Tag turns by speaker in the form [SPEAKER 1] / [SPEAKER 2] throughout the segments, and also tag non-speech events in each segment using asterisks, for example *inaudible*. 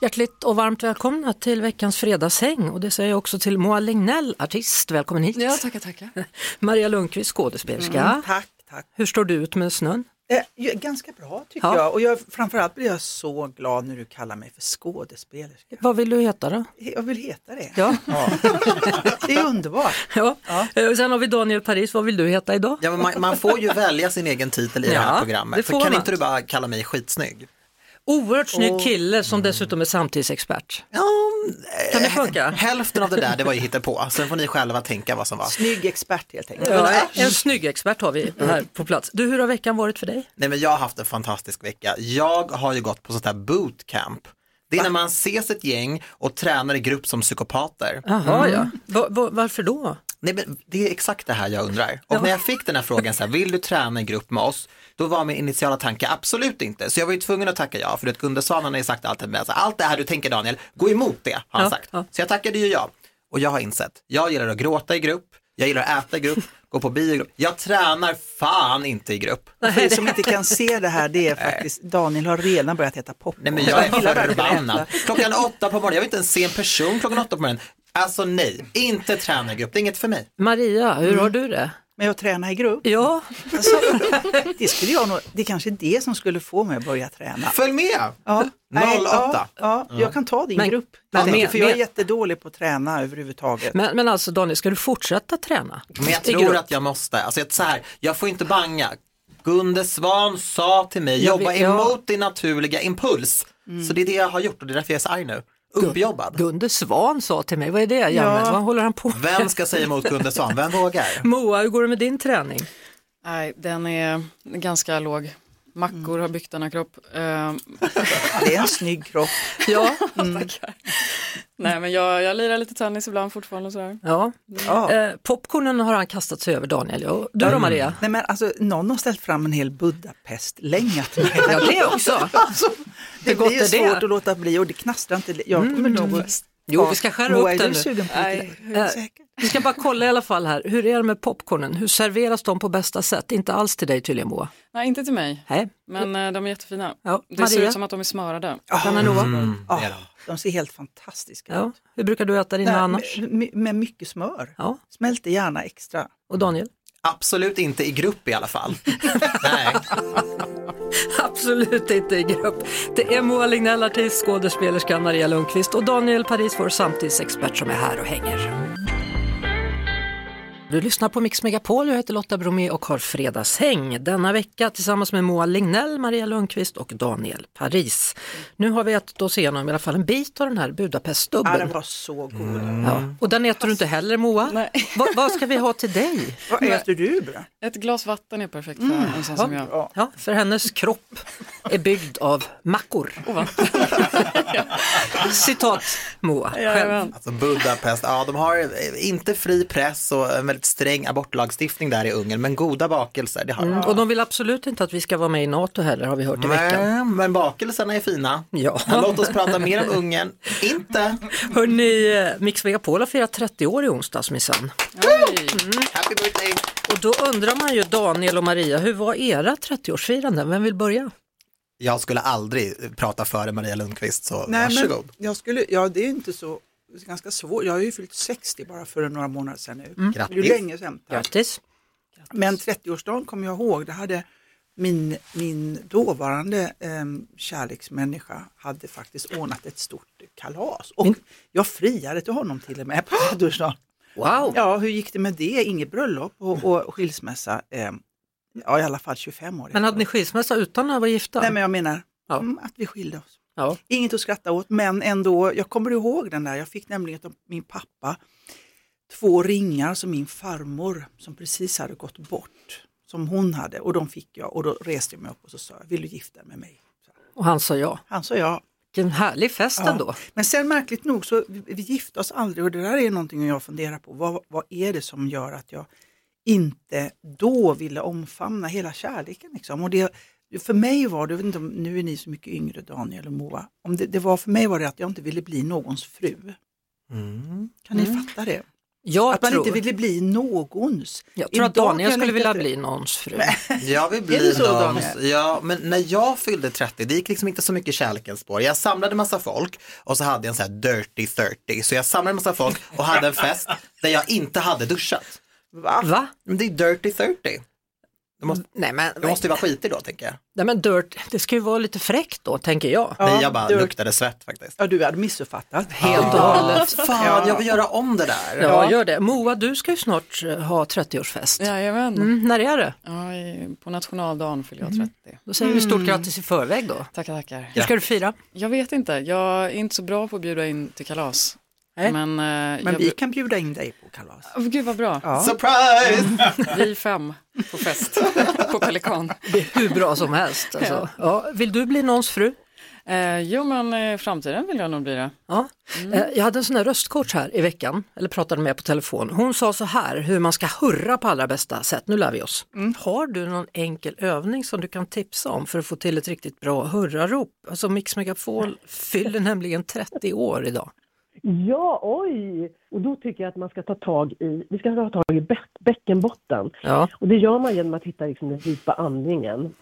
[SPEAKER 1] Hjärtligt och varmt välkomna till veckans fredagshäng och det säger jag också till Moa Lignell, artist. Välkommen hit!
[SPEAKER 2] Ja, tackar, tackar.
[SPEAKER 1] Maria Lundqvist, skådespelerska.
[SPEAKER 3] Mm, Tack, tack.
[SPEAKER 1] Hur står du ut med snön?
[SPEAKER 3] Eh, ju- ganska bra tycker
[SPEAKER 1] Ja.
[SPEAKER 3] jag. Och jag, framförallt blir jag så glad när du kallar mig för skådespelerska.
[SPEAKER 1] Vad vill du heta då?
[SPEAKER 3] He- Jag vill heta det.
[SPEAKER 1] Ja.
[SPEAKER 3] Ja. *laughs* det är underbart.
[SPEAKER 1] Ja. Eh, Och sen har vi Daniel Paris, vad vill du heta idag?
[SPEAKER 4] Ja, men man, man får ju välja sin egen titel i det
[SPEAKER 1] Ja,
[SPEAKER 4] här
[SPEAKER 1] det
[SPEAKER 4] programmet.
[SPEAKER 1] får
[SPEAKER 4] För kan
[SPEAKER 1] man.
[SPEAKER 4] inte du bara kalla mig skitsnygg?
[SPEAKER 1] Oerhört snygg kille som dessutom är samtidsexpert.
[SPEAKER 4] Ja,
[SPEAKER 1] Kan det funka?
[SPEAKER 4] hälften av det där det var ju på. Sen får ni själva tänka vad som var.
[SPEAKER 3] Snygg expert helt enkelt.
[SPEAKER 1] Ja, en snygg expert har vi här på plats. Du, hur har veckan varit för dig?
[SPEAKER 4] Nej men jag har haft en fantastisk vecka. Jag har ju gått på sånt här bootcamp. Det är när man ses ett gäng och tränar i grupp som psykopater.
[SPEAKER 1] Jaha, ja. Va, va, varför då?
[SPEAKER 4] Nej, men det är exakt det här jag undrar. Och när jag fick den här frågan, så här, vill du träna i grupp med oss? Då var min initiala tanke absolut inte. Så jag var ju tvungen att tacka ja, för du vet Gunde Svan han har ju sagt alltid med, så här, allt det här du tänker Daniel, gå emot det, har han
[SPEAKER 1] Ja,
[SPEAKER 4] sagt.
[SPEAKER 1] ja.
[SPEAKER 4] Så jag tackade ju ja. Och jag har insett, jag gillar att gråta i grupp, jag gillar att äta i grupp, gå på bio i grupp. Jag tränar fan inte i grupp.
[SPEAKER 3] För er som inte kan se det här, det är faktiskt Daniel har redan börjat äta popcorn.
[SPEAKER 4] Nej men jag är
[SPEAKER 3] gillar verkligen att
[SPEAKER 4] förbannad.
[SPEAKER 3] äta.
[SPEAKER 4] Klockan åtta på morgonen, jag vill inte ens se en person klockan åtta på morgonen. Alltså nej, inte träna i grupp, det är inget för mig.
[SPEAKER 1] Maria, hur har du det?
[SPEAKER 3] Men jag tränar i grupp.
[SPEAKER 1] Ja,
[SPEAKER 3] Alltså, det, skulle jag nog, det är kanske är det som skulle få mig att börja träna.
[SPEAKER 4] Följ med!
[SPEAKER 3] Ja. Nej,
[SPEAKER 4] 08.
[SPEAKER 3] ja, ja, jag kan ta din
[SPEAKER 1] Men-
[SPEAKER 3] grupp.
[SPEAKER 1] men-
[SPEAKER 3] Men,
[SPEAKER 1] men-
[SPEAKER 3] för jag är
[SPEAKER 1] men-
[SPEAKER 3] jättedålig på att träna överhuvudtaget.
[SPEAKER 1] men, men alltså Daniel, ska du fortsätta träna?
[SPEAKER 4] Men jag
[SPEAKER 1] I grupp?
[SPEAKER 4] tror att jag måste, alltså jag- så här, jag får inte banga. Gunde Svan sa till mig,
[SPEAKER 1] Jag
[SPEAKER 4] jobba
[SPEAKER 1] vet- ja. Mm.
[SPEAKER 4] emot din naturliga impuls. Så det är det jag har gjort och det är därför jag är så arg nu. Uppjobbad.
[SPEAKER 1] Gunde Svan sa till mig, vad är det Janne, vad håller han på med?
[SPEAKER 4] Vem ska säga emot Gunde Svan? Vem vågar?
[SPEAKER 1] Moa, hur går det med din träning?
[SPEAKER 2] Nej, den är ganska låg. Mackor har byggt denna kropp. Eh,
[SPEAKER 3] Det är en snygg kropp.
[SPEAKER 1] Ja,
[SPEAKER 2] nej, men jag, jag lirar lite tennis ibland fortfarande och sådär.
[SPEAKER 1] ja.
[SPEAKER 3] Ja.
[SPEAKER 1] Eh, popcornen har han kastat sig över Daniel. Och du då Maria?
[SPEAKER 3] Nej men alltså någon har ställt fram en hel Budapestlänga till mig.
[SPEAKER 1] Ja,
[SPEAKER 3] *laughs*
[SPEAKER 1] det också.
[SPEAKER 3] Alltså, det
[SPEAKER 1] gott
[SPEAKER 3] blir ju
[SPEAKER 1] är det? Mm.
[SPEAKER 3] svårt att låta bli och det knastrar inte. Jag kommer nog att...
[SPEAKER 1] Jo, vi ska skära
[SPEAKER 3] Moa,
[SPEAKER 1] upp
[SPEAKER 3] är
[SPEAKER 1] den
[SPEAKER 3] du
[SPEAKER 1] nu.
[SPEAKER 3] sugen på
[SPEAKER 2] Nej,
[SPEAKER 3] lite?
[SPEAKER 1] Eh, Vi ska bara kolla i alla fall här, hur är det med popcornen? Hur serveras de på bästa sätt? Inte alls till dig tydligen Moa.
[SPEAKER 2] Nej, inte till mig,
[SPEAKER 1] Nej.
[SPEAKER 2] men eh, de är jättefina.
[SPEAKER 1] Ja,
[SPEAKER 2] det ser
[SPEAKER 1] Maria?
[SPEAKER 2] ut som att de är smörade.
[SPEAKER 1] Anna Noa?
[SPEAKER 3] Ja,
[SPEAKER 4] Mm, är de.
[SPEAKER 3] de ser helt fantastiska
[SPEAKER 1] Ja.
[SPEAKER 3] ut.
[SPEAKER 1] Hur brukar du äta dina
[SPEAKER 3] Nej,
[SPEAKER 1] annars?
[SPEAKER 3] Med, med- med mycket smör.
[SPEAKER 1] Ja.
[SPEAKER 3] Smälter gärna extra.
[SPEAKER 1] Och Daniel?
[SPEAKER 4] Absolut inte i grupp i alla fall.
[SPEAKER 1] *laughs*
[SPEAKER 4] Nej.
[SPEAKER 1] Absolut inte i grupp. Det är Moa Lignell, artist, skådespelerska Maria Lundqvist och Daniel Paris, vår samtidsexpert som är här och hänger. Du lyssnar på Mix Megapol, jag heter Lotta Bromé och har fredagshäng denna vecka tillsammans med Moa Lignell, Maria Lundqvist och Daniel Paris. Nu har vi ätit oss igenom i alla fall en bit av den här
[SPEAKER 3] Ja, Äh, den
[SPEAKER 1] Budapestdubben.
[SPEAKER 3] var så god.
[SPEAKER 4] Mm.
[SPEAKER 1] Ja. Och den äter du inte heller Moa.
[SPEAKER 2] Nej.
[SPEAKER 1] Va, vad ska vi ha till dig?
[SPEAKER 3] Vad äter du bra?
[SPEAKER 2] Ett glas vatten är perfekt för en sån som jag.
[SPEAKER 3] Ja.
[SPEAKER 1] Ja, för hennes kropp är byggd av mackor. *laughs* Citat Moa själv.
[SPEAKER 2] Jajamän.
[SPEAKER 4] Alltså Budapest, ja de har eh, inte fri press och en väldigt sträng abortlagstiftning där i Ungern, men goda bakelser, det har de.
[SPEAKER 1] Och de vill absolut inte att vi ska vara med i NATO heller har vi hört i veckan.
[SPEAKER 4] Nej, men bakelserna är fina.
[SPEAKER 1] Ja.
[SPEAKER 4] Låt oss prata
[SPEAKER 1] *laughs*
[SPEAKER 4] mer om Ungern. Inte.
[SPEAKER 1] Hörni, eh, Mix Megapol har firat 30 år i onsdags minsann.
[SPEAKER 2] Oj.
[SPEAKER 4] Happy birthday.
[SPEAKER 1] Och då undrar man ju Daniel och Maria, hur var era 30-årsfiranden? Vem vill börja?
[SPEAKER 4] Jag skulle aldrig prata före Maria Lundqvist, så
[SPEAKER 3] Nej, men
[SPEAKER 4] varsågod.
[SPEAKER 3] jag skulle, ja, det är inte så det är ganska svårt. Jag har ju fyllt 60 bara för några månader sedan nu. Det är ju
[SPEAKER 4] Mm. Grattis.
[SPEAKER 3] länge sedan.
[SPEAKER 1] Grattis!
[SPEAKER 3] Men 30-årsdagen kommer jag ihåg, det hade min, min dåvarande em, kärleksmänniska hade faktiskt ordnat ett stort kalas och jag friade till honom till och med på 30-årsdagen.
[SPEAKER 1] Wow!
[SPEAKER 3] Ja, hur gick det med det? Inget bröllop och, och skilsmässa. em, ja, i alla fall 25 år.
[SPEAKER 1] Men hade ni skilsmässa utan att vara gifta?
[SPEAKER 3] Nej, men jag menar
[SPEAKER 1] Ja.
[SPEAKER 3] mm, att vi skilde oss.
[SPEAKER 1] ja.
[SPEAKER 3] Inget att skratta åt, men ändå, jag kommer ihåg den där. Jag fick nämligen av min pappa två ringar som min farmor, som precis hade gått bort, som hon hade och de fick jag och då reste jag mig upp och så sa jag, vill du gifta dig med mig? Så
[SPEAKER 1] Och han sa ja.
[SPEAKER 3] Han sa ja.
[SPEAKER 1] Vilken härlig fest
[SPEAKER 3] ja.
[SPEAKER 1] ändå.
[SPEAKER 3] Men sen märkligt nog så vi, vi gifte oss aldrig och det där är någonting jag funderar på. Vad, vad är det som gör att jag inte då ville omfamna hela kärleken? Liksom? Och det, för mig var det, jag vet inte om, nu är ni så mycket yngre Daniel och Moa,
[SPEAKER 4] Mm.
[SPEAKER 3] om det, det var för mig var det att jag inte ville bli någons fru. Kan ni fatta det?
[SPEAKER 1] Jag
[SPEAKER 3] Att man
[SPEAKER 1] tror-
[SPEAKER 3] inte ville bli någons.
[SPEAKER 1] Jag tror att
[SPEAKER 3] Idag
[SPEAKER 1] Daniel
[SPEAKER 3] kan
[SPEAKER 1] skulle
[SPEAKER 3] jag
[SPEAKER 1] vilja
[SPEAKER 3] inte-
[SPEAKER 1] bli någons fru.
[SPEAKER 4] Jag vill
[SPEAKER 3] Är det
[SPEAKER 4] bli
[SPEAKER 3] så,
[SPEAKER 4] någons.
[SPEAKER 3] Daniel?
[SPEAKER 4] Ja, men när jag fyllde 30, det gick liksom inte så mycket kärlekens spår. Jag samlade massa folk och så hade jag en sån här dirty 30. Så jag samlade massa folk och hade en fest där jag inte hade duschat.
[SPEAKER 3] Va?
[SPEAKER 1] Va?
[SPEAKER 4] Men det är dirty 30. Det måste,
[SPEAKER 1] Nej men,
[SPEAKER 4] det måste ju vara skitig då tänker jag.
[SPEAKER 1] nej men dirt, det ska ju vara lite fräckt då tänker jag.
[SPEAKER 3] Ja,
[SPEAKER 4] Nej, jag bara
[SPEAKER 3] du-
[SPEAKER 4] luktade svett faktiskt.
[SPEAKER 3] Ja, du hade missuppfattat.
[SPEAKER 1] Helt och hållet.
[SPEAKER 4] Fan, jag vill göra om det där.
[SPEAKER 1] Ja, gör det. Moa, du ska ju snart eh, ha 30-årsfest.
[SPEAKER 2] Jajamän.
[SPEAKER 1] Mm, när är det?
[SPEAKER 2] Ja, i- på nationaldagen fyller jag 30.
[SPEAKER 1] Då säger vi stort grattis i förväg då.
[SPEAKER 2] Tackar, tackar.
[SPEAKER 1] Hur ska du fira?
[SPEAKER 2] Jag vet inte, jag är inte så bra på att bjuda in till kalas.
[SPEAKER 1] Nej.
[SPEAKER 2] Men, eh,
[SPEAKER 3] Men
[SPEAKER 2] jag...
[SPEAKER 3] vi kan bjuda in dig på kalas.
[SPEAKER 2] Åh, gud vad bra,
[SPEAKER 3] Ja.
[SPEAKER 4] Surprise!
[SPEAKER 2] vi är fem på fest på Pelikan.
[SPEAKER 1] Det är hur bra som helst. Alltså. Ja, vill du bli någons fru?
[SPEAKER 2] Eh, jo men eh, i framtiden vill jag nog bli det.
[SPEAKER 1] Ja. Eh, Jag hade en sån här röstcoach här i veckan, eller pratade med på telefon. Hon sa så här, hur man ska hurra på allra bästa sätt. Nu lär vi oss. Har du någon enkel övning som du kan tipsa om för att få till ett riktigt bra hurrarop? Alltså Mix Megapol fyller nämligen 30 år idag.
[SPEAKER 5] Ja, oj! Och då tycker jag att man ska ta tag i, vi ska ta tag i bä- bäckenbotten.
[SPEAKER 1] Ja.
[SPEAKER 5] Och det gör man genom att hitta liksom den djupa andningen.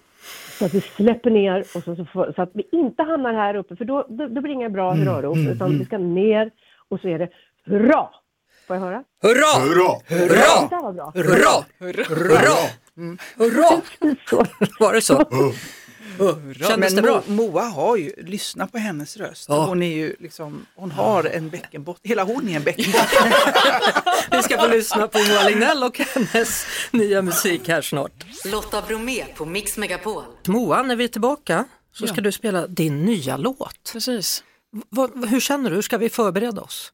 [SPEAKER 5] Så att vi släpper ner och så, så, får, så att vi inte hamnar här uppe, för då, då, då blir det inga bra hurrarop, utan vi ska ner och så är det hurra! Får jag höra?
[SPEAKER 1] Hurra!
[SPEAKER 4] Hurra!
[SPEAKER 5] Det där var bra.
[SPEAKER 1] Hurra! Hurra! Hurra!
[SPEAKER 5] Så.
[SPEAKER 1] Var det så? Kändes det
[SPEAKER 3] Men
[SPEAKER 1] bra?
[SPEAKER 3] Mo- Moa har ju, lyssna på hennes röst,
[SPEAKER 1] Ja.
[SPEAKER 3] hon är ju liksom, hon har en bäckenbotten, hela hon är en
[SPEAKER 1] *laughs*
[SPEAKER 3] bäckenbotten.
[SPEAKER 1] Vi ska få lyssna på Moa Lignell och hennes nya musik här snart.
[SPEAKER 6] Lotta Bromé på Mix Megapol.
[SPEAKER 1] Moa, när vi är tillbaka så ska du spela din nya låt.
[SPEAKER 2] Precis.
[SPEAKER 1] Vad, hur känner du? Hur ska vi förbereda oss?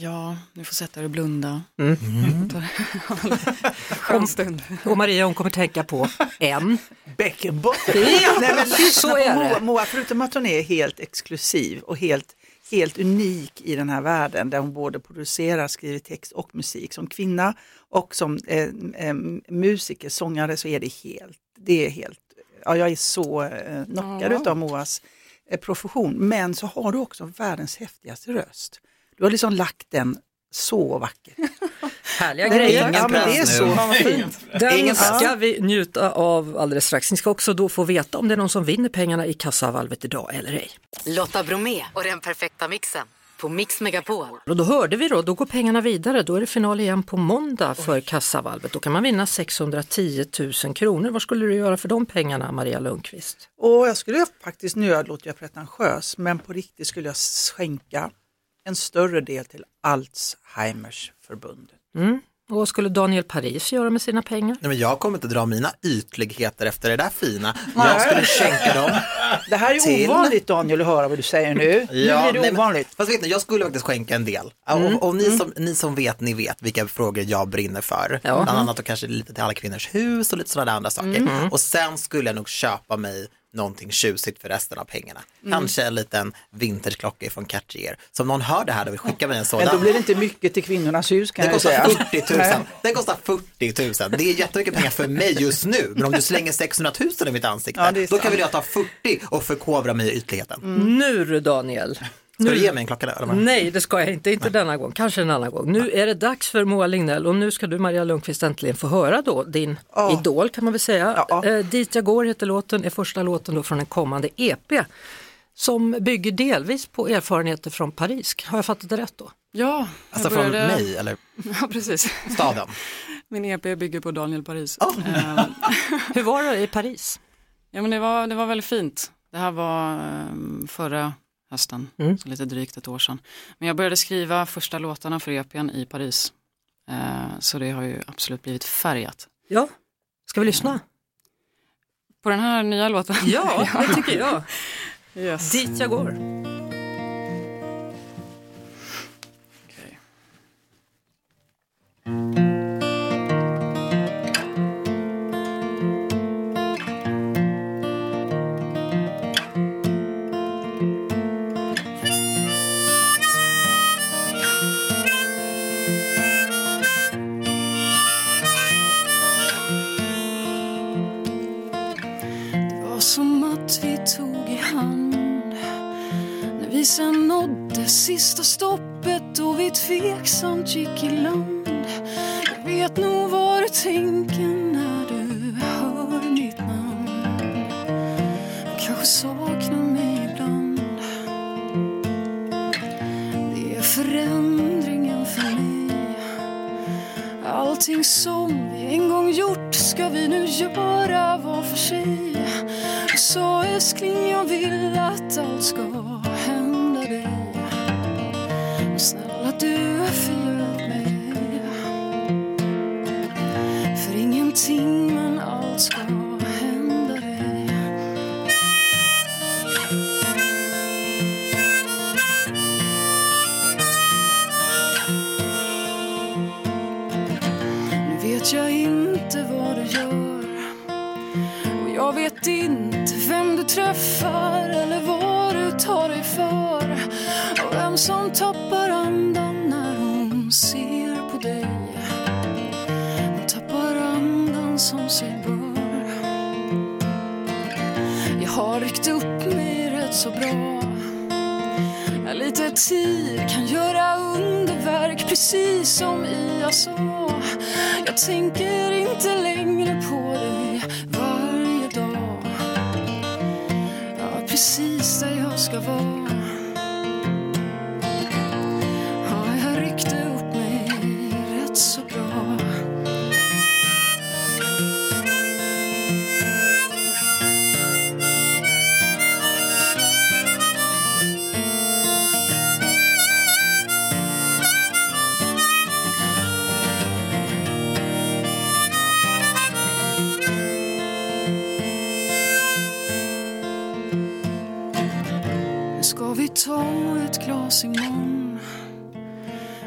[SPEAKER 2] Ja, nu får sätta dig och blunda.
[SPEAKER 4] Mm.
[SPEAKER 2] Ta det- *laughs* Skön stund.
[SPEAKER 1] Och Maria hon kommer tänka på en.
[SPEAKER 3] Bäckenbotten! Nej, *laughs* men
[SPEAKER 1] så
[SPEAKER 3] lyssna
[SPEAKER 1] är
[SPEAKER 3] på
[SPEAKER 1] det.
[SPEAKER 3] Moa, Moa, förutom att hon är helt exklusiv och helt, helt unik i den här världen där hon både producerar, skriver text och musik. Som kvinna och som eh, eh, musiker, sångare så är det helt, det är helt, ja jag är så eh, knockad utav Moas eh, profession. Men så har du också världens häftigaste röst. Du har liksom lagt den så vackert.
[SPEAKER 1] Härliga
[SPEAKER 4] ingen
[SPEAKER 3] ja, men det är
[SPEAKER 4] press
[SPEAKER 3] så
[SPEAKER 4] nu.
[SPEAKER 3] fint.
[SPEAKER 1] Den
[SPEAKER 4] Ingen
[SPEAKER 1] ska
[SPEAKER 4] press.
[SPEAKER 1] vi njuta av alldeles strax. Ni ska också då få veta om det är någon som vinner pengarna i kassavalvet idag eller ej.
[SPEAKER 6] Lotta Bromé och den perfekta mixen på Mix Megapol.
[SPEAKER 1] Och då hörde vi då, då går pengarna vidare. Då är det final igen på måndag för kassavalvet. Då kan man vinna 610 000 kronor. Vad skulle du göra för de pengarna, Maria Lundqvist?
[SPEAKER 3] Och jag skulle faktiskt, nu låter jag pretentiös, men på riktigt skulle jag skänka en större del till Alzheimers förbund.
[SPEAKER 1] Och vad skulle Daniel Paris göra med sina pengar?
[SPEAKER 4] Nej, men jag kommer inte dra mina ytligheter efter det där fina. Jag skulle skänka dem.
[SPEAKER 3] *laughs* Det här är
[SPEAKER 4] Till?
[SPEAKER 3] ovanligt Daniel att höra vad du säger nu. nu blir
[SPEAKER 4] nej,
[SPEAKER 3] det
[SPEAKER 4] men-
[SPEAKER 3] ovanligt. Mm,
[SPEAKER 4] Fast vet ni, jag skulle faktiskt skänka en del. Och, och ni, som, ni som vet, ni vet vilka frågor jag brinner för.
[SPEAKER 3] Mm.
[SPEAKER 4] Bland annat och kanske lite till Alla Kvinnors Hus och lite sådana där andra saker. Och sen skulle jag nog köpa mig någonting tjusigt för resten av pengarna.
[SPEAKER 3] Mm.
[SPEAKER 4] Kanske en liten vinterklocka från Cartier. Så om någon hör det här och vill skicka mig en sådan.
[SPEAKER 3] Men då blir det inte mycket till kvinnornas hus kan
[SPEAKER 4] Den
[SPEAKER 3] jag
[SPEAKER 4] kostar
[SPEAKER 3] säga.
[SPEAKER 4] 40 000.
[SPEAKER 3] Nej.
[SPEAKER 4] Den kostar 40 000. Det är jättemycket pengar för mig just nu. Men om du slänger 600 000 i mitt ansikte,
[SPEAKER 3] Ja, det är
[SPEAKER 4] då
[SPEAKER 3] sant. Mm.
[SPEAKER 4] kan väl jag ta 40 och förkovra mig i ytligheten.
[SPEAKER 1] Nu du Daniel!
[SPEAKER 4] Ska du ge mig en klocka där? eller vad?
[SPEAKER 1] Nej, det ska jag inte. Inte denna gång, kanske en annan gång. Nu är det dags för Moa Lignell och nu ska du Maria Lundqvist äntligen få höra då din
[SPEAKER 3] Ja.
[SPEAKER 1] idol kan man väl säga.
[SPEAKER 3] Ja.
[SPEAKER 1] Eh, Dit jag går heter låten, är första låten då från en kommande EP som bygger delvis på erfarenheter från Paris. Har jag fattat det rätt då?
[SPEAKER 2] Ja, jag
[SPEAKER 4] Alltså från
[SPEAKER 2] började...
[SPEAKER 4] mig eller
[SPEAKER 2] Ja, precis.
[SPEAKER 4] staden.
[SPEAKER 2] Min EP bygger på Daniel Paris. Eh,
[SPEAKER 1] Hur var det i Paris?
[SPEAKER 2] Ja, men det, var, det var väldigt fint. Det här var ehm, förra hösten,
[SPEAKER 4] Mm.
[SPEAKER 2] så lite drygt ett år sedan. Men jag började skriva första låtarna för EPn i Paris. Eh, så det har ju absolut blivit färgat.
[SPEAKER 1] Ja, ska vi lyssna?
[SPEAKER 2] På den här nya låten.
[SPEAKER 1] Ja, det tycker jag.
[SPEAKER 2] Yes.
[SPEAKER 1] Dit jag går.
[SPEAKER 2] Okej. Det var som att vi tog i hand nådde sista stoppet och vi tveksamt gick i land. Jag vet nog vad du tänker när du hör mitt namn. Kanske saknar mig ibland. Det är förändringen för mig. Allting som vi en gång gjort ska vi nu göra var för sig. Jag sa älskling, jag vill att allt ska hända dig. Men Snälla du, fyll upp mig. För ingenting men allt ska hända dig. Nu vet jag inte vad du gör Och jag vet inte vem du träffar Eller vad du tar dig för Och vem som tappar andan när hon ser på dig Hon tappar andan som sig bör Jag har ryckt upp mig rätt så bra Ja, Lite tid kan göra underverk precis som jag sa Jag tänker inte längre på dig varje dag ja, Precis där jag ska vara Ja, jag ryckte upp mig rätt så bra Nu ska vi ta ett glas imorgon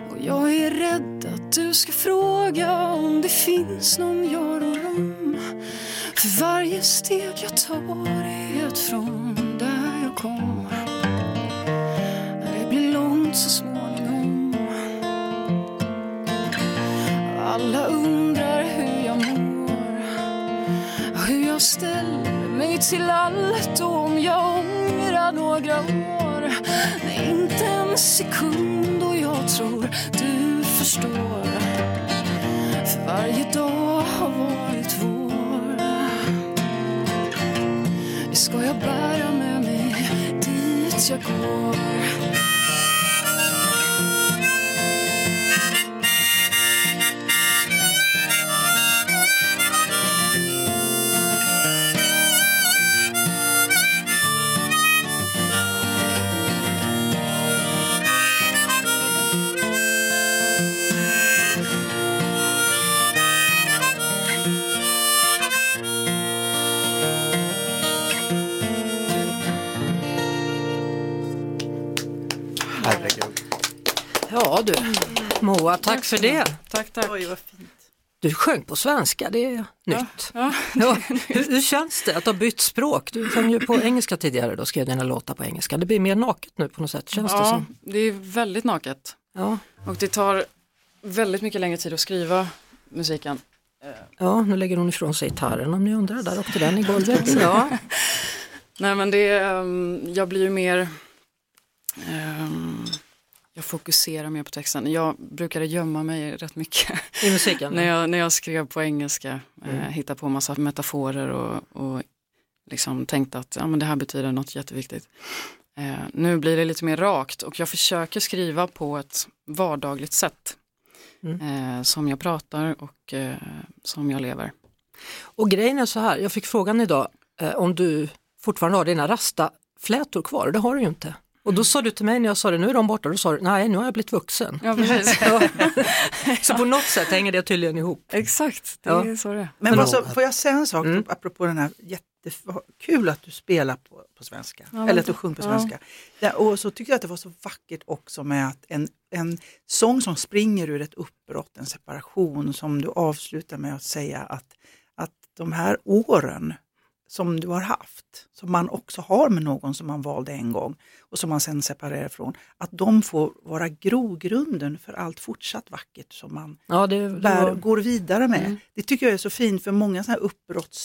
[SPEAKER 2] Och jag är rädd att du ska fråga om det finns någon jag rår om För varje steg jag tar är ett från där jag kom Det blir långt så småningom Alla undrar hur jag mår hur jag ställer mig till allt och om jag ångrar några år. Nej, inte en sekund och jag tror du förstår. För varje dag har varit vår. Det ska jag bära med mig dit jag går.
[SPEAKER 4] Herregud.
[SPEAKER 1] Ja du, Moa, tack för det.
[SPEAKER 2] Tack, tack.
[SPEAKER 3] Oj, vad fint.
[SPEAKER 1] Du sjöng på svenska, det är nytt.
[SPEAKER 2] Ja,
[SPEAKER 1] Ja, hur, hur känns det att ha bytt språk? Du sjöng ju på engelska tidigare då, skrev dina låtar på engelska. Det blir mer naket nu på något sätt, känns det
[SPEAKER 2] ja,
[SPEAKER 1] som.
[SPEAKER 2] det är väldigt naket.
[SPEAKER 1] Ja,
[SPEAKER 2] Och det tar väldigt mycket längre tid att skriva musiken.
[SPEAKER 1] ja, nu lägger hon ifrån sig gitarren om ni undrar, där åkte den i golvet. Ja,
[SPEAKER 2] *laughs* Nej men det, är, ehm, jag blir ju mer, ehm, jag fokuserar mer på texten. Jag brukade gömma mig rätt mycket *laughs*
[SPEAKER 1] i musiken.
[SPEAKER 2] när, jag, när jag skrev på engelska. Eh, hitta på massa metaforer och, och liksom tänkte att ja, men det här betyder något jätteviktigt. Eh, nu blir det lite mer rakt och jag försöker skriva på ett vardagligt sätt.
[SPEAKER 1] Mm.
[SPEAKER 2] Eh, som jag pratar och eh, som jag lever.
[SPEAKER 1] Och grejen är så här, jag fick frågan idag eh, om du fortfarande har dina rastaflätor kvar, det har du ju inte. Och då sa du till mig när jag sa det, nu är de borta, då sa du, nej nu har jag blivit vuxen.
[SPEAKER 2] Ja, precis.
[SPEAKER 1] *laughs*
[SPEAKER 2] *laughs*
[SPEAKER 1] Så på något sätt hänger det tydligen ihop.
[SPEAKER 2] Exakt, det
[SPEAKER 1] Ja.
[SPEAKER 2] är så det är.
[SPEAKER 3] Men
[SPEAKER 1] Men-
[SPEAKER 3] alltså, får jag säga en sak
[SPEAKER 1] Mm.
[SPEAKER 3] apropå den här, jättekul att du spelar på, på svenska, eller att du sjunger på
[SPEAKER 2] Ja.
[SPEAKER 3] svenska. Ja, och så tycker jag att det var så vackert också med att en, en sång som springer ur ett uppbrott, en separation, som du avslutar med att säga att, att de här åren som du har haft, som man också har med någon som man valde en gång och som man sen separerar från, att de får vara grogrunden för allt fortsatt vackert som man
[SPEAKER 1] Ja, det, det
[SPEAKER 3] bär,
[SPEAKER 1] var,
[SPEAKER 3] går vidare med.
[SPEAKER 2] Mm.
[SPEAKER 3] Det tycker jag är så fint för många sådana här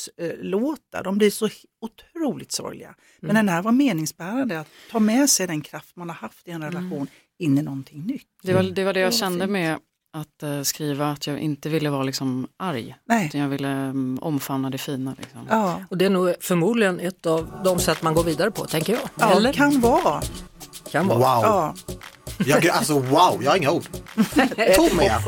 [SPEAKER 3] uppbrottslåtar, de blir så he- otroligt sorgliga. Men den här var meningsbärande, att ta med sig den kraft man har haft i en relation in i någonting nytt.
[SPEAKER 2] Det var det, var det
[SPEAKER 3] Det
[SPEAKER 2] jag
[SPEAKER 3] var
[SPEAKER 2] kände
[SPEAKER 3] fint.
[SPEAKER 2] med att eh, skriva, att jag inte ville vara liksom arg,
[SPEAKER 3] Nej.
[SPEAKER 2] utan jag ville mm, omfamna det fina. Liksom.
[SPEAKER 3] Ja,
[SPEAKER 1] och det är nog förmodligen ett av de sätt man går vidare på, tänker jag.
[SPEAKER 3] ja
[SPEAKER 1] Eller?
[SPEAKER 3] kan vara.
[SPEAKER 1] Kan vara.
[SPEAKER 4] Wow,
[SPEAKER 3] Ja.
[SPEAKER 4] jag, alltså wow, jag har *laughs* inga ord. Tom är jag.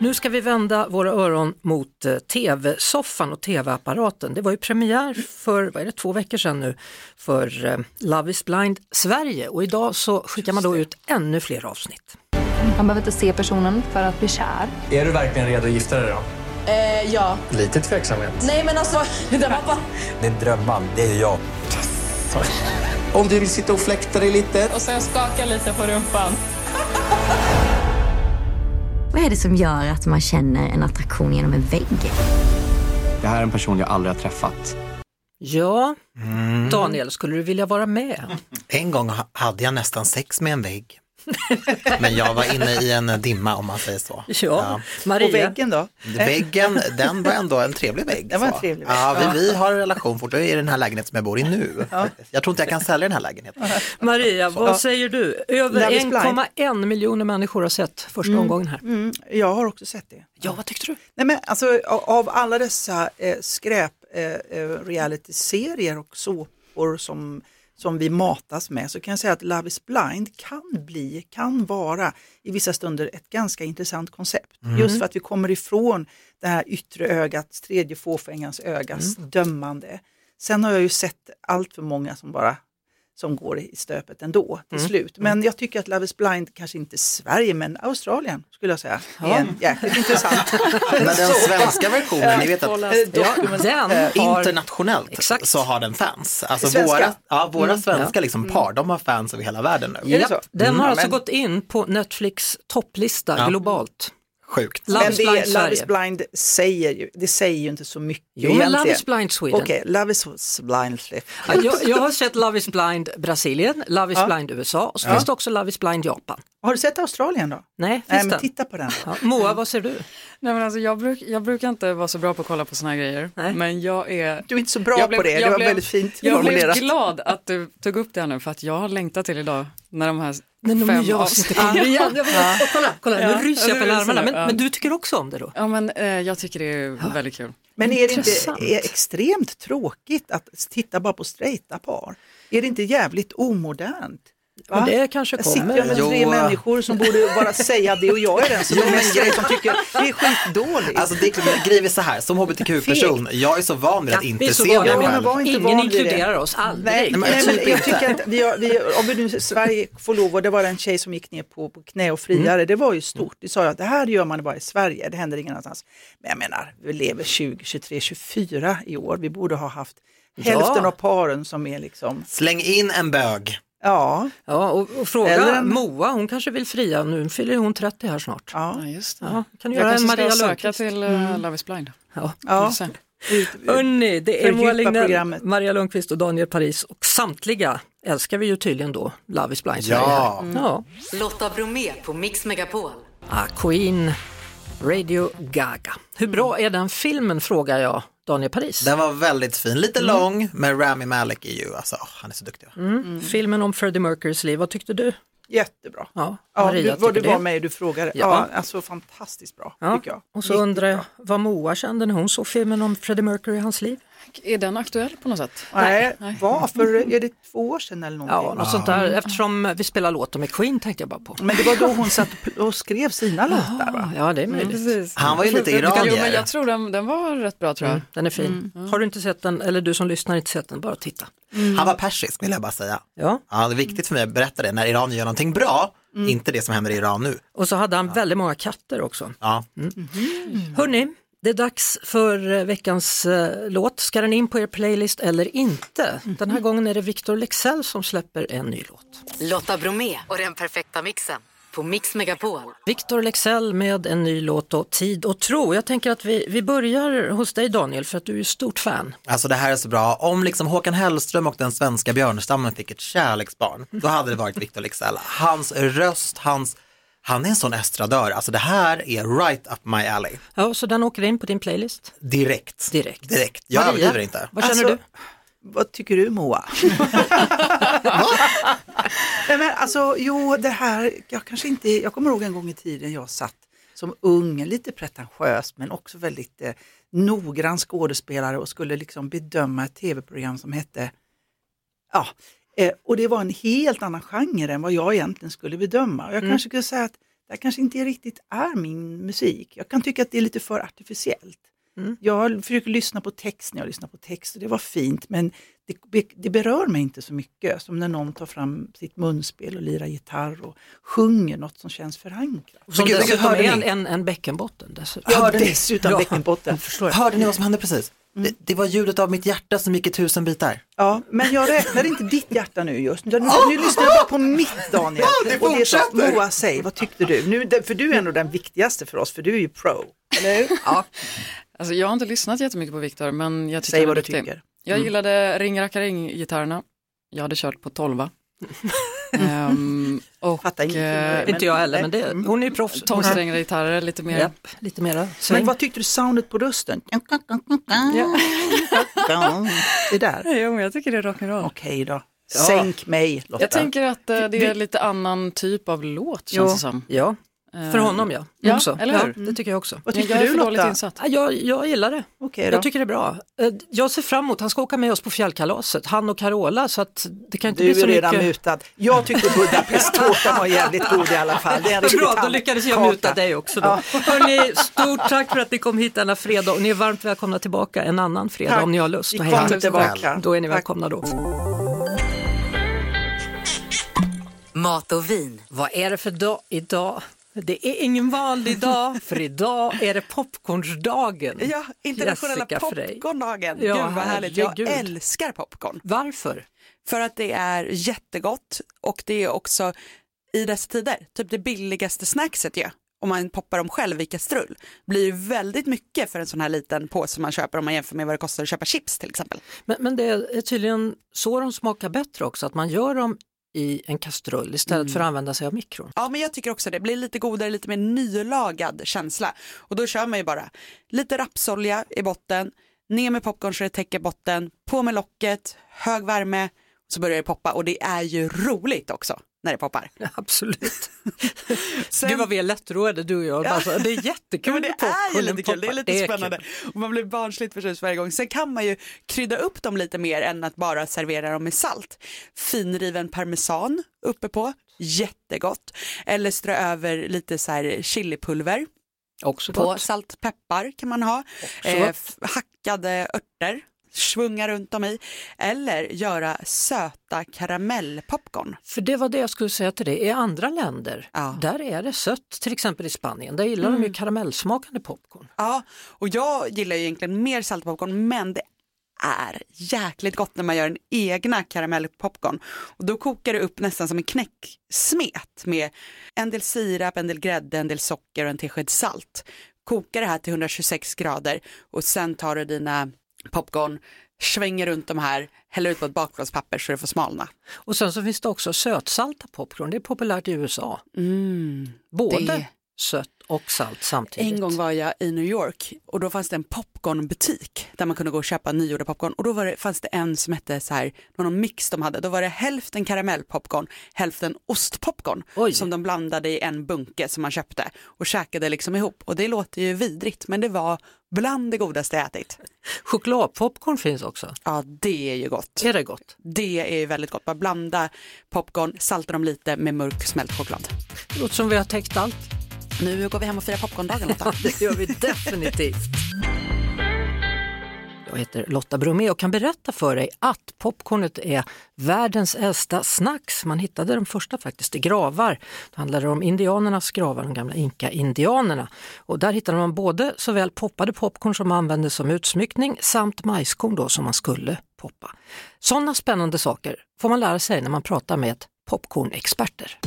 [SPEAKER 1] Nu ska vi vända våra öron mot eh, tv-soffan och tv-apparaten. Det var ju premiär för, vad är det, två veckor sedan nu för eh, Love is blind Sverige och idag så skickar man då ut ännu fler avsnitt.
[SPEAKER 7] Man behöver inte se personen för att bli kär.
[SPEAKER 8] Är du verkligen redo att gifta dig då?
[SPEAKER 9] Eh, ja.
[SPEAKER 8] Lite tveksamhet.
[SPEAKER 9] Nej men alltså, *laughs* det var bara...
[SPEAKER 8] Din drömman, det är jag. Om du vill sitta och fläkta dig lite.
[SPEAKER 9] Och sen skaka lite på rumpan.
[SPEAKER 10] Vad är det som gör att man känner en attraktion genom en vägg?
[SPEAKER 8] Det här är en person jag aldrig har träffat.
[SPEAKER 1] Ja,
[SPEAKER 3] Mm.
[SPEAKER 1] Daniel, skulle du vilja vara med?
[SPEAKER 4] En gång ha- hade jag nästan sex med en vägg. Men jag var inne i en dimma om man säger så.
[SPEAKER 1] Ja,
[SPEAKER 4] Ja.
[SPEAKER 1] Maria.
[SPEAKER 3] Och väggen då?
[SPEAKER 4] Väggen, den var ändå en trevlig vägg.
[SPEAKER 3] Det var en
[SPEAKER 4] så.
[SPEAKER 3] trevlig vägg.
[SPEAKER 4] Ja, vi, vi har en relation fortfarande i den här lägenheten som jag bor i nu. Jag tror inte jag kan sälja den här lägenheten.
[SPEAKER 1] Maria, vad säger du? Över
[SPEAKER 3] Love is blind.
[SPEAKER 1] 1,1 miljoner människor har sett första omgången här.
[SPEAKER 3] Mm, jag har också sett det.
[SPEAKER 1] Ja, vad tyckte du?
[SPEAKER 3] Nej, men alltså, a- av alla dessa eh, skräp eh, eh, reality-serier och såpor som, som vi matas med så kan jag säga att Love is blind kan bli, kan vara i vissa stunder ett ganska intressant koncept. Just för att vi kommer ifrån det här yttre ögats, tredje fåfängans ögas dömande. Sen har jag ju sett allt för många som bara som går i stöpet ändå till slut. Men jag tycker att Love is blind, kanske inte Sverige men Australien skulle jag säga, är en jäkligt intressant
[SPEAKER 4] Men den svenska versionen, ni vet att
[SPEAKER 1] Ja, den Eh,
[SPEAKER 3] eh,
[SPEAKER 1] har...
[SPEAKER 4] Eh, internationellt
[SPEAKER 1] Exakt.
[SPEAKER 4] så har den fans. Alltså
[SPEAKER 3] Svenska.
[SPEAKER 4] våra, ja, våra svenska liksom par, de har fans över hela världen nu.
[SPEAKER 3] Är det så?
[SPEAKER 1] Japp, den har
[SPEAKER 4] Mm,
[SPEAKER 1] alltså
[SPEAKER 4] men-
[SPEAKER 1] gått in på Netflix topplista
[SPEAKER 4] Ja.
[SPEAKER 1] globalt.
[SPEAKER 4] Sjukt.
[SPEAKER 1] Love
[SPEAKER 3] Men
[SPEAKER 1] is
[SPEAKER 3] det
[SPEAKER 1] blind
[SPEAKER 3] Love
[SPEAKER 1] Sverige.
[SPEAKER 3] is blind säger ju, det säger ju inte så mycket
[SPEAKER 1] Jo, men Love
[SPEAKER 3] egentligen.
[SPEAKER 1] is blind Sweden.
[SPEAKER 3] Okej, Love is blind Sweden.
[SPEAKER 1] Ja, Jag, jag har sett Love is blind Brasilien, Love is blind USA och så finns det också Love is blind Japan.
[SPEAKER 3] Har du sett Australien då?
[SPEAKER 1] Nej, finns
[SPEAKER 3] Nej,
[SPEAKER 1] den?
[SPEAKER 3] men titta på den.
[SPEAKER 1] Ja, Moa, vad ser du?
[SPEAKER 2] Nej, men alltså, jag, bruk, jag brukar inte vara så bra på att kolla på såna här grejer,
[SPEAKER 1] Nej.
[SPEAKER 2] men jag är
[SPEAKER 3] Du är inte så bra
[SPEAKER 2] Jag blev-
[SPEAKER 3] på det, det
[SPEAKER 2] jag
[SPEAKER 3] var
[SPEAKER 2] blev-
[SPEAKER 3] väldigt fint
[SPEAKER 2] jag blev
[SPEAKER 3] formulerat.
[SPEAKER 2] glad att du tog upp det här nu, för att jag har längtat till idag när de här fem avsnitten-
[SPEAKER 1] igen. Jag vet, och kolla, kolla
[SPEAKER 2] Ja.
[SPEAKER 1] nu ryser jag på
[SPEAKER 2] Ja, nu ryser
[SPEAKER 1] armarna.
[SPEAKER 2] du,
[SPEAKER 1] Men,
[SPEAKER 2] ja.
[SPEAKER 1] men du tycker också om det då?
[SPEAKER 2] Ja, men eh, jag tycker det är väldigt kul.
[SPEAKER 3] Men är det inte
[SPEAKER 1] Intressant.
[SPEAKER 3] är extremt tråkigt att titta bara på straighta par? Är det inte jävligt omodernt? Va?
[SPEAKER 1] Men det kanske
[SPEAKER 3] Jag sitter
[SPEAKER 1] kommer.
[SPEAKER 3] med tre
[SPEAKER 4] Jo.
[SPEAKER 3] människor som borde bara säga det och jag är den som är mest straight som tycker det är skitdåligt.
[SPEAKER 4] Alltså det är grejen är så här, som hbtq-person, jag är så van vid att
[SPEAKER 1] vi är
[SPEAKER 4] inte
[SPEAKER 1] så
[SPEAKER 4] se mig
[SPEAKER 1] vana vid-
[SPEAKER 3] men
[SPEAKER 4] själv.
[SPEAKER 3] var inte
[SPEAKER 1] Ingen
[SPEAKER 3] van vid det.
[SPEAKER 1] inkluderar oss, aldrig.
[SPEAKER 3] Nej,
[SPEAKER 4] men
[SPEAKER 3] nej,
[SPEAKER 4] typ
[SPEAKER 3] men jag
[SPEAKER 4] inte.
[SPEAKER 3] tycker att vi har, vi, om vi nu, Sverige får lov, och det var en tjej som gick ner på, på knä och friade, det var ju stort. Det sa jag, det här gör man bara i Sverige, det händer ingen annanstans. Men jag menar, vi lever 20, 23, 24 i år, vi borde ha haft hälften av paren som är liksom,
[SPEAKER 4] Släng in en bög.
[SPEAKER 3] ja,
[SPEAKER 1] Ja, och, och fråga
[SPEAKER 3] Eller en-
[SPEAKER 1] Moa, hon kanske vill fria, nu fyller hon 30 här snart.
[SPEAKER 3] ja,
[SPEAKER 2] Ja, just det.
[SPEAKER 1] Ja, kan du
[SPEAKER 2] Jag
[SPEAKER 1] göra en
[SPEAKER 2] kanske
[SPEAKER 1] Maria
[SPEAKER 2] ska söka
[SPEAKER 1] Lundqvist?
[SPEAKER 2] till eh, Love is blind.
[SPEAKER 1] Ja.
[SPEAKER 3] ja.
[SPEAKER 2] Sen.
[SPEAKER 1] Hörni, det är
[SPEAKER 3] Fördjupa
[SPEAKER 1] Moa Lignell,
[SPEAKER 3] programmet.
[SPEAKER 1] Maria Lundqvist och Daniel Paris och samtliga älskar vi ju tydligen då Love is blind Sverige
[SPEAKER 4] Ja.
[SPEAKER 1] här. ja. Mm.
[SPEAKER 6] Lotta Bromé på Mix Megapol.
[SPEAKER 1] Ah, Queen, Radio Gaga. Hur bra är den filmen frågar jag Daniel Paris.
[SPEAKER 4] Den var väldigt fin, lite lång, men Rami Malek är ju, alltså, åh, han är så duktig.
[SPEAKER 1] Filmen om Freddie Mercurys liv, vad tyckte du?
[SPEAKER 3] jättebra.
[SPEAKER 1] Ja,
[SPEAKER 3] Ja,
[SPEAKER 1] Maria
[SPEAKER 3] du, vad du
[SPEAKER 1] tycker
[SPEAKER 3] var
[SPEAKER 1] det.
[SPEAKER 3] med och du frågade.
[SPEAKER 1] Ja.
[SPEAKER 3] Ja. alltså fantastiskt bra,
[SPEAKER 1] Ja.
[SPEAKER 3] tycker jag.
[SPEAKER 1] Och så undrar jag
[SPEAKER 3] Jättebra.
[SPEAKER 1] vad Moa kände när hon såg filmen om Freddie Mercury i hans liv.
[SPEAKER 2] Är den aktuell på något sätt?
[SPEAKER 3] Nej, varför, är det två år sedan eller någonting?
[SPEAKER 1] Ja, något sånt där. Eftersom vi spelar låtar med Queen tänkte jag bara på.
[SPEAKER 3] Men det var då hon satt och skrev sina låtar va?
[SPEAKER 1] Ja, det är möjligt.
[SPEAKER 2] Precis.
[SPEAKER 4] Han var ju lite
[SPEAKER 2] Jo, men
[SPEAKER 4] iranier.
[SPEAKER 2] jag tror den, den var rätt bra tror jag.
[SPEAKER 1] Den är fin. Har du inte sett den, eller du som lyssnar inte sett den, bara titta.
[SPEAKER 4] Han var persisk vill jag bara säga.
[SPEAKER 1] Ja.
[SPEAKER 4] Ja, det är viktigt för mig att berätta det, när Iran gör någonting bra, inte det som händer i Iran nu.
[SPEAKER 1] Och så hade han väldigt många katter också. Mm.
[SPEAKER 4] Ja.
[SPEAKER 1] Hörni, det är dags för eh, veckans eh, låt. Ska den in på er playlist eller inte? Den här gången är det Victor Lexell som släpper en ny låt.
[SPEAKER 6] Lotta Bromé och den perfekta mixen på Mix Megapol.
[SPEAKER 1] Victor Lexell med en ny låt och Tid och tro. Jag tänker att vi, vi börjar hos dig Daniel för att du är ju stort fan.
[SPEAKER 4] Alltså det här är så bra. Om liksom Håkan Hellström och den svenska björnstammen fick ett kärleksbarn, då hade det varit Victor Leksell. Hans röst, hans, han är en sån estradör. Alltså det här är right up my alley.
[SPEAKER 1] Ja, så den åker in på din playlist?
[SPEAKER 4] Direkt.
[SPEAKER 1] Direkt.
[SPEAKER 4] Direkt. Jag
[SPEAKER 1] Maria,
[SPEAKER 4] överdriver inte.
[SPEAKER 1] Vad känner
[SPEAKER 3] Alltså,
[SPEAKER 1] du?
[SPEAKER 3] Vad tycker du Moa? *laughs* Nej, men alltså, jo, det här, jag kanske inte, jag kommer ihåg en gång i tiden jag satt som ung, lite pretentiös men också väldigt eh, noggrann skådespelare och skulle liksom bedöma ett tv-program som hette, ja, eh, och det var en helt annan genre än vad jag egentligen skulle bedöma. Och jag kanske skulle säga att det här kanske inte riktigt är min musik. Jag kan tycka att det är lite för artificiellt. Jag försöker lyssna på text när jag lyssnar på text och det var fint men det, be- det berör mig inte så mycket som när någon tar fram sitt munspel och lirar gitarr och sjunger något som känns förankrat.
[SPEAKER 1] Som
[SPEAKER 4] Vilket- vilket
[SPEAKER 1] dessutom
[SPEAKER 4] hörde
[SPEAKER 1] är en,
[SPEAKER 4] ni?
[SPEAKER 1] en, en bäckenbotten dessutom.
[SPEAKER 3] Ja, dessutom
[SPEAKER 1] Ja.
[SPEAKER 3] bäckenbotten.
[SPEAKER 4] Hörde ni vad som hände precis?
[SPEAKER 1] Mm.
[SPEAKER 4] Det, det var ljudet av mitt hjärta som gick i tusen bitar.
[SPEAKER 3] Ja, men jag räknar inte ditt hjärta nu just nu. Nu, nu lyssnar jag bara på mitt Daniel.
[SPEAKER 4] Ja, det
[SPEAKER 3] och det som
[SPEAKER 4] fortsätter.
[SPEAKER 3] Moa, säg, vad tyckte du? Nu, för du är ändå den viktigaste för oss, för du är ju pro. Eller hur? Ja.
[SPEAKER 2] Alltså, jag har inte lyssnat jättemycket på Viktor, men jag tycker
[SPEAKER 3] Säg
[SPEAKER 2] han är
[SPEAKER 3] vad du
[SPEAKER 2] duktig.
[SPEAKER 3] tycker. Mm.
[SPEAKER 2] Jag gillade ring ring gitarrerna Jag hade kört på 12.
[SPEAKER 3] *laughs*
[SPEAKER 2] Ehm, och
[SPEAKER 3] Fattar ingenting.
[SPEAKER 2] eh,
[SPEAKER 1] Inte jag heller, men det, hon är ju proffs.
[SPEAKER 2] tolvsträngade gitarrer lite mer.
[SPEAKER 1] Japp, lite mera
[SPEAKER 3] Men
[SPEAKER 1] sväng.
[SPEAKER 3] vad tyckte du soundet på rösten? Det där.
[SPEAKER 2] Nej, Jo, men jag tycker det är rock'n'roll.
[SPEAKER 3] Okej då. Sänk mig Lotta.
[SPEAKER 2] Jag tänker att eh, det är lite annan typ av låt känns det som.
[SPEAKER 1] Ja, för honom ja.
[SPEAKER 2] ja,
[SPEAKER 1] också.
[SPEAKER 2] eller hur?
[SPEAKER 1] Ja, det tycker jag också.
[SPEAKER 3] Vad
[SPEAKER 2] Men
[SPEAKER 3] tycker
[SPEAKER 2] jag är
[SPEAKER 3] du
[SPEAKER 2] för dåligt
[SPEAKER 3] Lotta?
[SPEAKER 2] insatt.
[SPEAKER 1] Ja, Jag, jag gillar det.
[SPEAKER 3] Okej då.
[SPEAKER 1] Jag tycker det är bra. Eh, Jag ser fram emot, han ska åka med oss på fjällkalaset, han och Carola, så att det kan inte
[SPEAKER 3] Du
[SPEAKER 1] bli så
[SPEAKER 3] är redan
[SPEAKER 1] mycket.
[SPEAKER 3] mutad. Jag tyckte Budapesttårtan var jävligt god i alla fall. Det är en riktig
[SPEAKER 1] Bra, då
[SPEAKER 3] tand-
[SPEAKER 1] lyckades jag
[SPEAKER 3] kaka.
[SPEAKER 1] muta dig också då. Hörrni, stort tack för att ni kom hit denna fredag och ni är varmt välkomna tillbaka en annan fredag
[SPEAKER 3] Tack.
[SPEAKER 1] om ni har lust.
[SPEAKER 3] Vi
[SPEAKER 1] att hänga
[SPEAKER 3] kommer
[SPEAKER 1] med.
[SPEAKER 3] tillbaka.
[SPEAKER 1] Då är ni
[SPEAKER 3] Tack.
[SPEAKER 1] välkomna då.
[SPEAKER 6] Mat och vin.
[SPEAKER 1] Vad är det för dag idag? Det är ingen vanlig dag, för idag är det popcornsdagen.
[SPEAKER 11] Ja, internationella
[SPEAKER 1] Jessica Frey.
[SPEAKER 11] popcorndagen.
[SPEAKER 1] Ja,
[SPEAKER 11] Gud vad härligt, jag
[SPEAKER 1] herregud.
[SPEAKER 11] älskar popcorn.
[SPEAKER 1] Varför?
[SPEAKER 11] För att det är jättegott och det är också i dessa tider, typ det billigaste snackset ju. Om man poppar dem själv i kastrull blir ju väldigt mycket för en sån här liten påse man köper om man jämför med vad det kostar att köpa chips till exempel.
[SPEAKER 1] Men, men det är tydligen så de smakar bättre också, att man gör dem i en kastrull istället för att använda sig av mikron.
[SPEAKER 11] Ja men jag tycker också det, blir lite godare, lite mer nylagad känsla. Och då kör man ju bara lite rapsolja i botten, ner med popcorn så det täcker botten, på med locket, hög värme, så börjar det poppa och det är ju roligt också när det poppar.
[SPEAKER 1] *laughs* Absolut.
[SPEAKER 11] Sen-
[SPEAKER 1] Gud vad vi är lättroade du och jag. Alltså, det är jättekul
[SPEAKER 11] Ja, men det
[SPEAKER 1] när popcornen
[SPEAKER 11] är ju lite kul, det är
[SPEAKER 1] poppar.
[SPEAKER 11] lite
[SPEAKER 1] kul.
[SPEAKER 11] spännande. Och man blir barnsligt förtjust varje gång. Sen kan man ju krydda upp dem lite mer än att bara servera dem med salt. Finriven parmesan uppe på, jättegott. Eller strö över lite så här chilipulver
[SPEAKER 1] Också
[SPEAKER 11] på,
[SPEAKER 1] gott.
[SPEAKER 11] salt, peppar kan man ha. Eh, f- hackade örter, svunga runt dem i. Eller göra söta karamellpopcorn.
[SPEAKER 1] För det var det jag skulle säga till dig, i andra länder,
[SPEAKER 11] Ja. Mm.
[SPEAKER 1] där är det sött, till exempel i Spanien, där gillar de ju karamellsmakande popcorn.
[SPEAKER 11] Ja, och jag gillar ju egentligen mer saltpopcorn men det är jäkligt gott när man gör en egna karamellpopcorn. Och då kokar det upp nästan som en knäcksmet med en del sirap, en del grädde, en del socker och en tesked salt. Kokar det här till 126 grader och sen tar du dina popcorn, svänger runt de här, häller ut på ett bakplåtspapper så det får smalna.
[SPEAKER 1] Och sen så finns det också sötsalta popcorn, det är populärt i USA. Både
[SPEAKER 11] Mm. det-
[SPEAKER 1] sött och salt samtidigt.
[SPEAKER 11] En gång var jag i New York och då fanns det en popcornbutik där man kunde gå och köpa nygjorda popcorn och då var det, fanns det en som hette så här, någon mix de hade, då var det hälften karamellpopcorn, hälften ostpopcorn
[SPEAKER 1] Oj.
[SPEAKER 11] som de blandade i en bunke som man köpte och käkade liksom ihop och det låter ju vidrigt men det var bland det godaste jag ätit.
[SPEAKER 1] Chokladpopcorn finns också,
[SPEAKER 11] Ja det är ju gott.
[SPEAKER 1] är det gott?
[SPEAKER 11] Det är ju väldigt gott, bara blanda popcorn, salta dem lite med mörk smält choklad.
[SPEAKER 1] Det låter som vi har täckt allt.
[SPEAKER 11] Nu går vi hem och firar popcorndagen Lotta.
[SPEAKER 1] *laughs* Det gör vi definitivt. Jag heter Lotta Bromé och kan berätta för dig att popcornet är världens äldsta snacks. Man hittade de första faktiskt i gravar. Det handlade om indianernas gravar, de gamla inka-indianerna. Och där hittade man både såväl poppade popcorn som användes som utsmyckning samt majskorn då som man skulle poppa. Sådana spännande saker får man lära sig när man pratar med popcornexperter.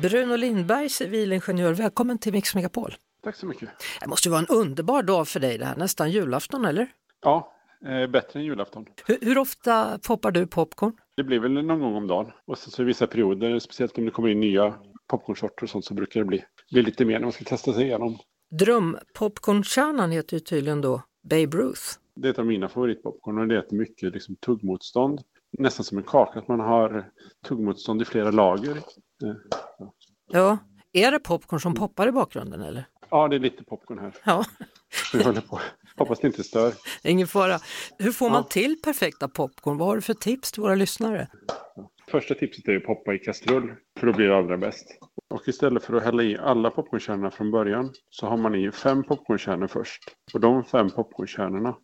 [SPEAKER 1] Bruno Lindberg, civilingenjör, välkommen till Mix Megapol.
[SPEAKER 12] Tack så mycket.
[SPEAKER 1] Det måste ju vara en underbar dag för dig det här, nästan julafton eller?
[SPEAKER 12] Ja, eh, bättre än julafton.
[SPEAKER 1] Hur, hur ofta poppar du popcorn?
[SPEAKER 12] Det blir väl någon gång om dagen. Och sen så i vissa perioder, speciellt om det kommer in nya popcornsorter och sånt, så brukar det bli, bli lite mer när man ska testa sig igenom.
[SPEAKER 1] Drömpopcornstjärnan heter ju tydligen då Babe Ruth.
[SPEAKER 12] Det är ett av mina favoritpopcorn och det är ett mycket liksom, tuggmotstånd. Nästan som en kaka, att man har tuggmotstånd i flera lager. Eh, ja.
[SPEAKER 1] Ja, är det popcorn som poppar i bakgrunden eller?
[SPEAKER 12] Ja, det är lite popcorn här.
[SPEAKER 1] Ja, *laughs*
[SPEAKER 12] Vi håller på. Hoppas det inte stör.
[SPEAKER 1] ingen fara. Hur får man till perfekta popcorn? Vad har du för tips till våra lyssnare?
[SPEAKER 12] Första tipset är att poppa i kastrull, för då blir det allra bäst. Och istället för att hälla i alla popcornkärnorna från början så har man i fem popcornkärnor först. Och de fem popcornkärnorna,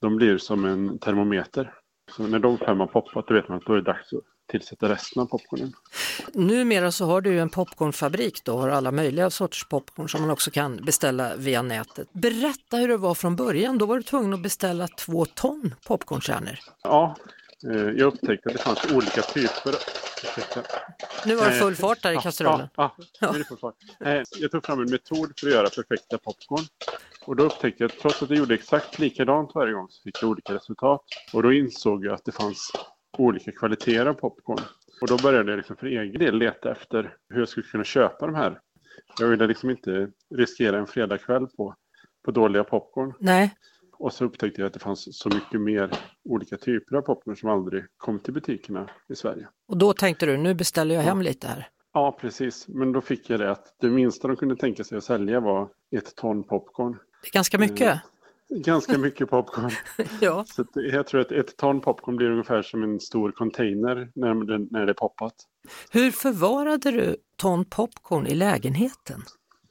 [SPEAKER 12] de blir som en termometer. Så när de fem har poppat, då vet man att då är det dags att tillsätta resten av popcornen.
[SPEAKER 1] Numera så har du ju en popcornfabrik då, har alla möjliga sorters popcorn som man också kan beställa via nätet. Berätta hur det var från början, då var du tvungen att beställa två ton popcornkärnor.
[SPEAKER 12] Ja, eh, jag upptäckte att det fanns olika typer. Ursäkta.
[SPEAKER 1] Nu var det full
[SPEAKER 12] Eh,
[SPEAKER 1] fart där i
[SPEAKER 12] ja,
[SPEAKER 1] kastrullen.
[SPEAKER 12] Ja, ja, nu är det full fart. Eh, Jag tog fram en metod för att göra perfekta popcorn. Och då upptäckte jag att trots att jag gjorde exakt likadant varje gång så fick jag olika resultat. Och då insåg jag att det fanns olika kvaliteter av popcorn. Och då började jag liksom för egen del leta efter hur jag skulle kunna köpa de här. Jag ville liksom inte riskera en fredagkväll på, på dåliga popcorn.
[SPEAKER 1] Nej,
[SPEAKER 12] Och så upptäckte jag att det fanns så mycket mer olika typer av popcorn som aldrig kom till butikerna i Sverige.
[SPEAKER 1] och då tänkte du, nu beställer jag hem lite här.
[SPEAKER 12] Ja, precis. Men då fick jag det att det minsta de kunde tänka sig att sälja var ett ton popcorn.
[SPEAKER 1] Det är ganska mycket.
[SPEAKER 12] Ganska mycket popcorn.
[SPEAKER 1] *laughs* ja.
[SPEAKER 12] Så att jag tror att ett ton popcorn blir ungefär som en stor container när, det- när det är poppat.
[SPEAKER 1] Hur förvarade du ton popcorn i lägenheten?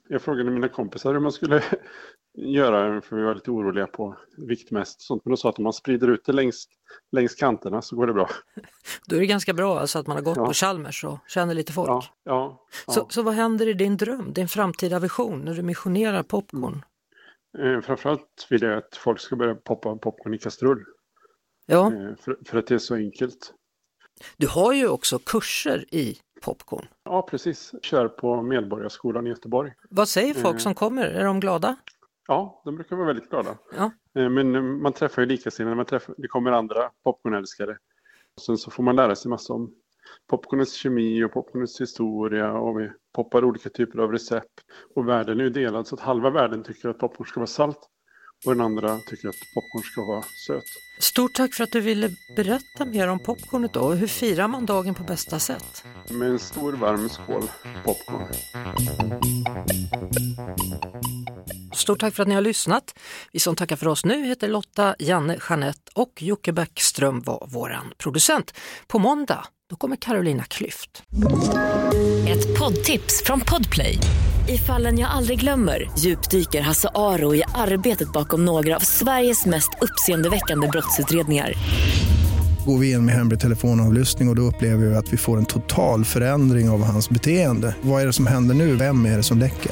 [SPEAKER 12] Jag frågade mina kompisar hur man skulle *laughs* göra, för vi var lite oroliga på viktmässigt och sånt. Men de sa att om man sprider ut det längs, längs kanterna så går det bra.
[SPEAKER 1] Då är det ganska bra alltså att man har gått
[SPEAKER 12] Ja.
[SPEAKER 1] på Chalmers och känner lite folk.
[SPEAKER 12] Ja, ja, ja.
[SPEAKER 1] Så, så vad händer i din dröm, din framtida vision när du missionerar popcorn?
[SPEAKER 12] Eh, Framförallt vill jag att folk ska börja poppa popcorn i kastrull.
[SPEAKER 1] Ja.
[SPEAKER 12] Eh, För, för att det är så enkelt.
[SPEAKER 1] Du har ju också kurser i popcorn.
[SPEAKER 12] Ja, precis. Kör på Medborgarskolan i Göteborg.
[SPEAKER 1] Vad säger folk
[SPEAKER 12] Eh,
[SPEAKER 1] som kommer? Är de glada?
[SPEAKER 12] Ja, de brukar vara väldigt glada.
[SPEAKER 1] Ja.
[SPEAKER 12] Eh, Men eh, man träffar ju likasinnade, man träffar, det kommer andra popcornälskare. Och sen så får man lära sig massa om popcornens kemi och popcornens historia och vi poppar olika typer av recept. Och världen är ju delad så att halva världen tycker att popcorn ska vara salt och den andra tycker att popcorn ska vara söt.
[SPEAKER 1] Stort tack för att du ville berätta mer om popcornet då. Hur firar man dagen på bästa sätt?
[SPEAKER 12] Med en stor varm skål popcorn.
[SPEAKER 1] Stort tack för att ni har lyssnat. Vi som tackar för oss nu heter Lotta, Janne, Jeanette och Jocke Bäckström var våran producent. På måndag, då kommer Carolina Klüft.
[SPEAKER 13] Ett poddtips från Podplay. I fallen jag aldrig glömmer djupdyker Hasse Aro i arbetet bakom några av Sveriges mest uppseendeväckande brottsutredningar.
[SPEAKER 14] Går vi in med hemlig telefonavlyssning och, och då upplever vi att vi får en total förändring av hans beteende. Vad är det som händer nu? Vem är det som läcker?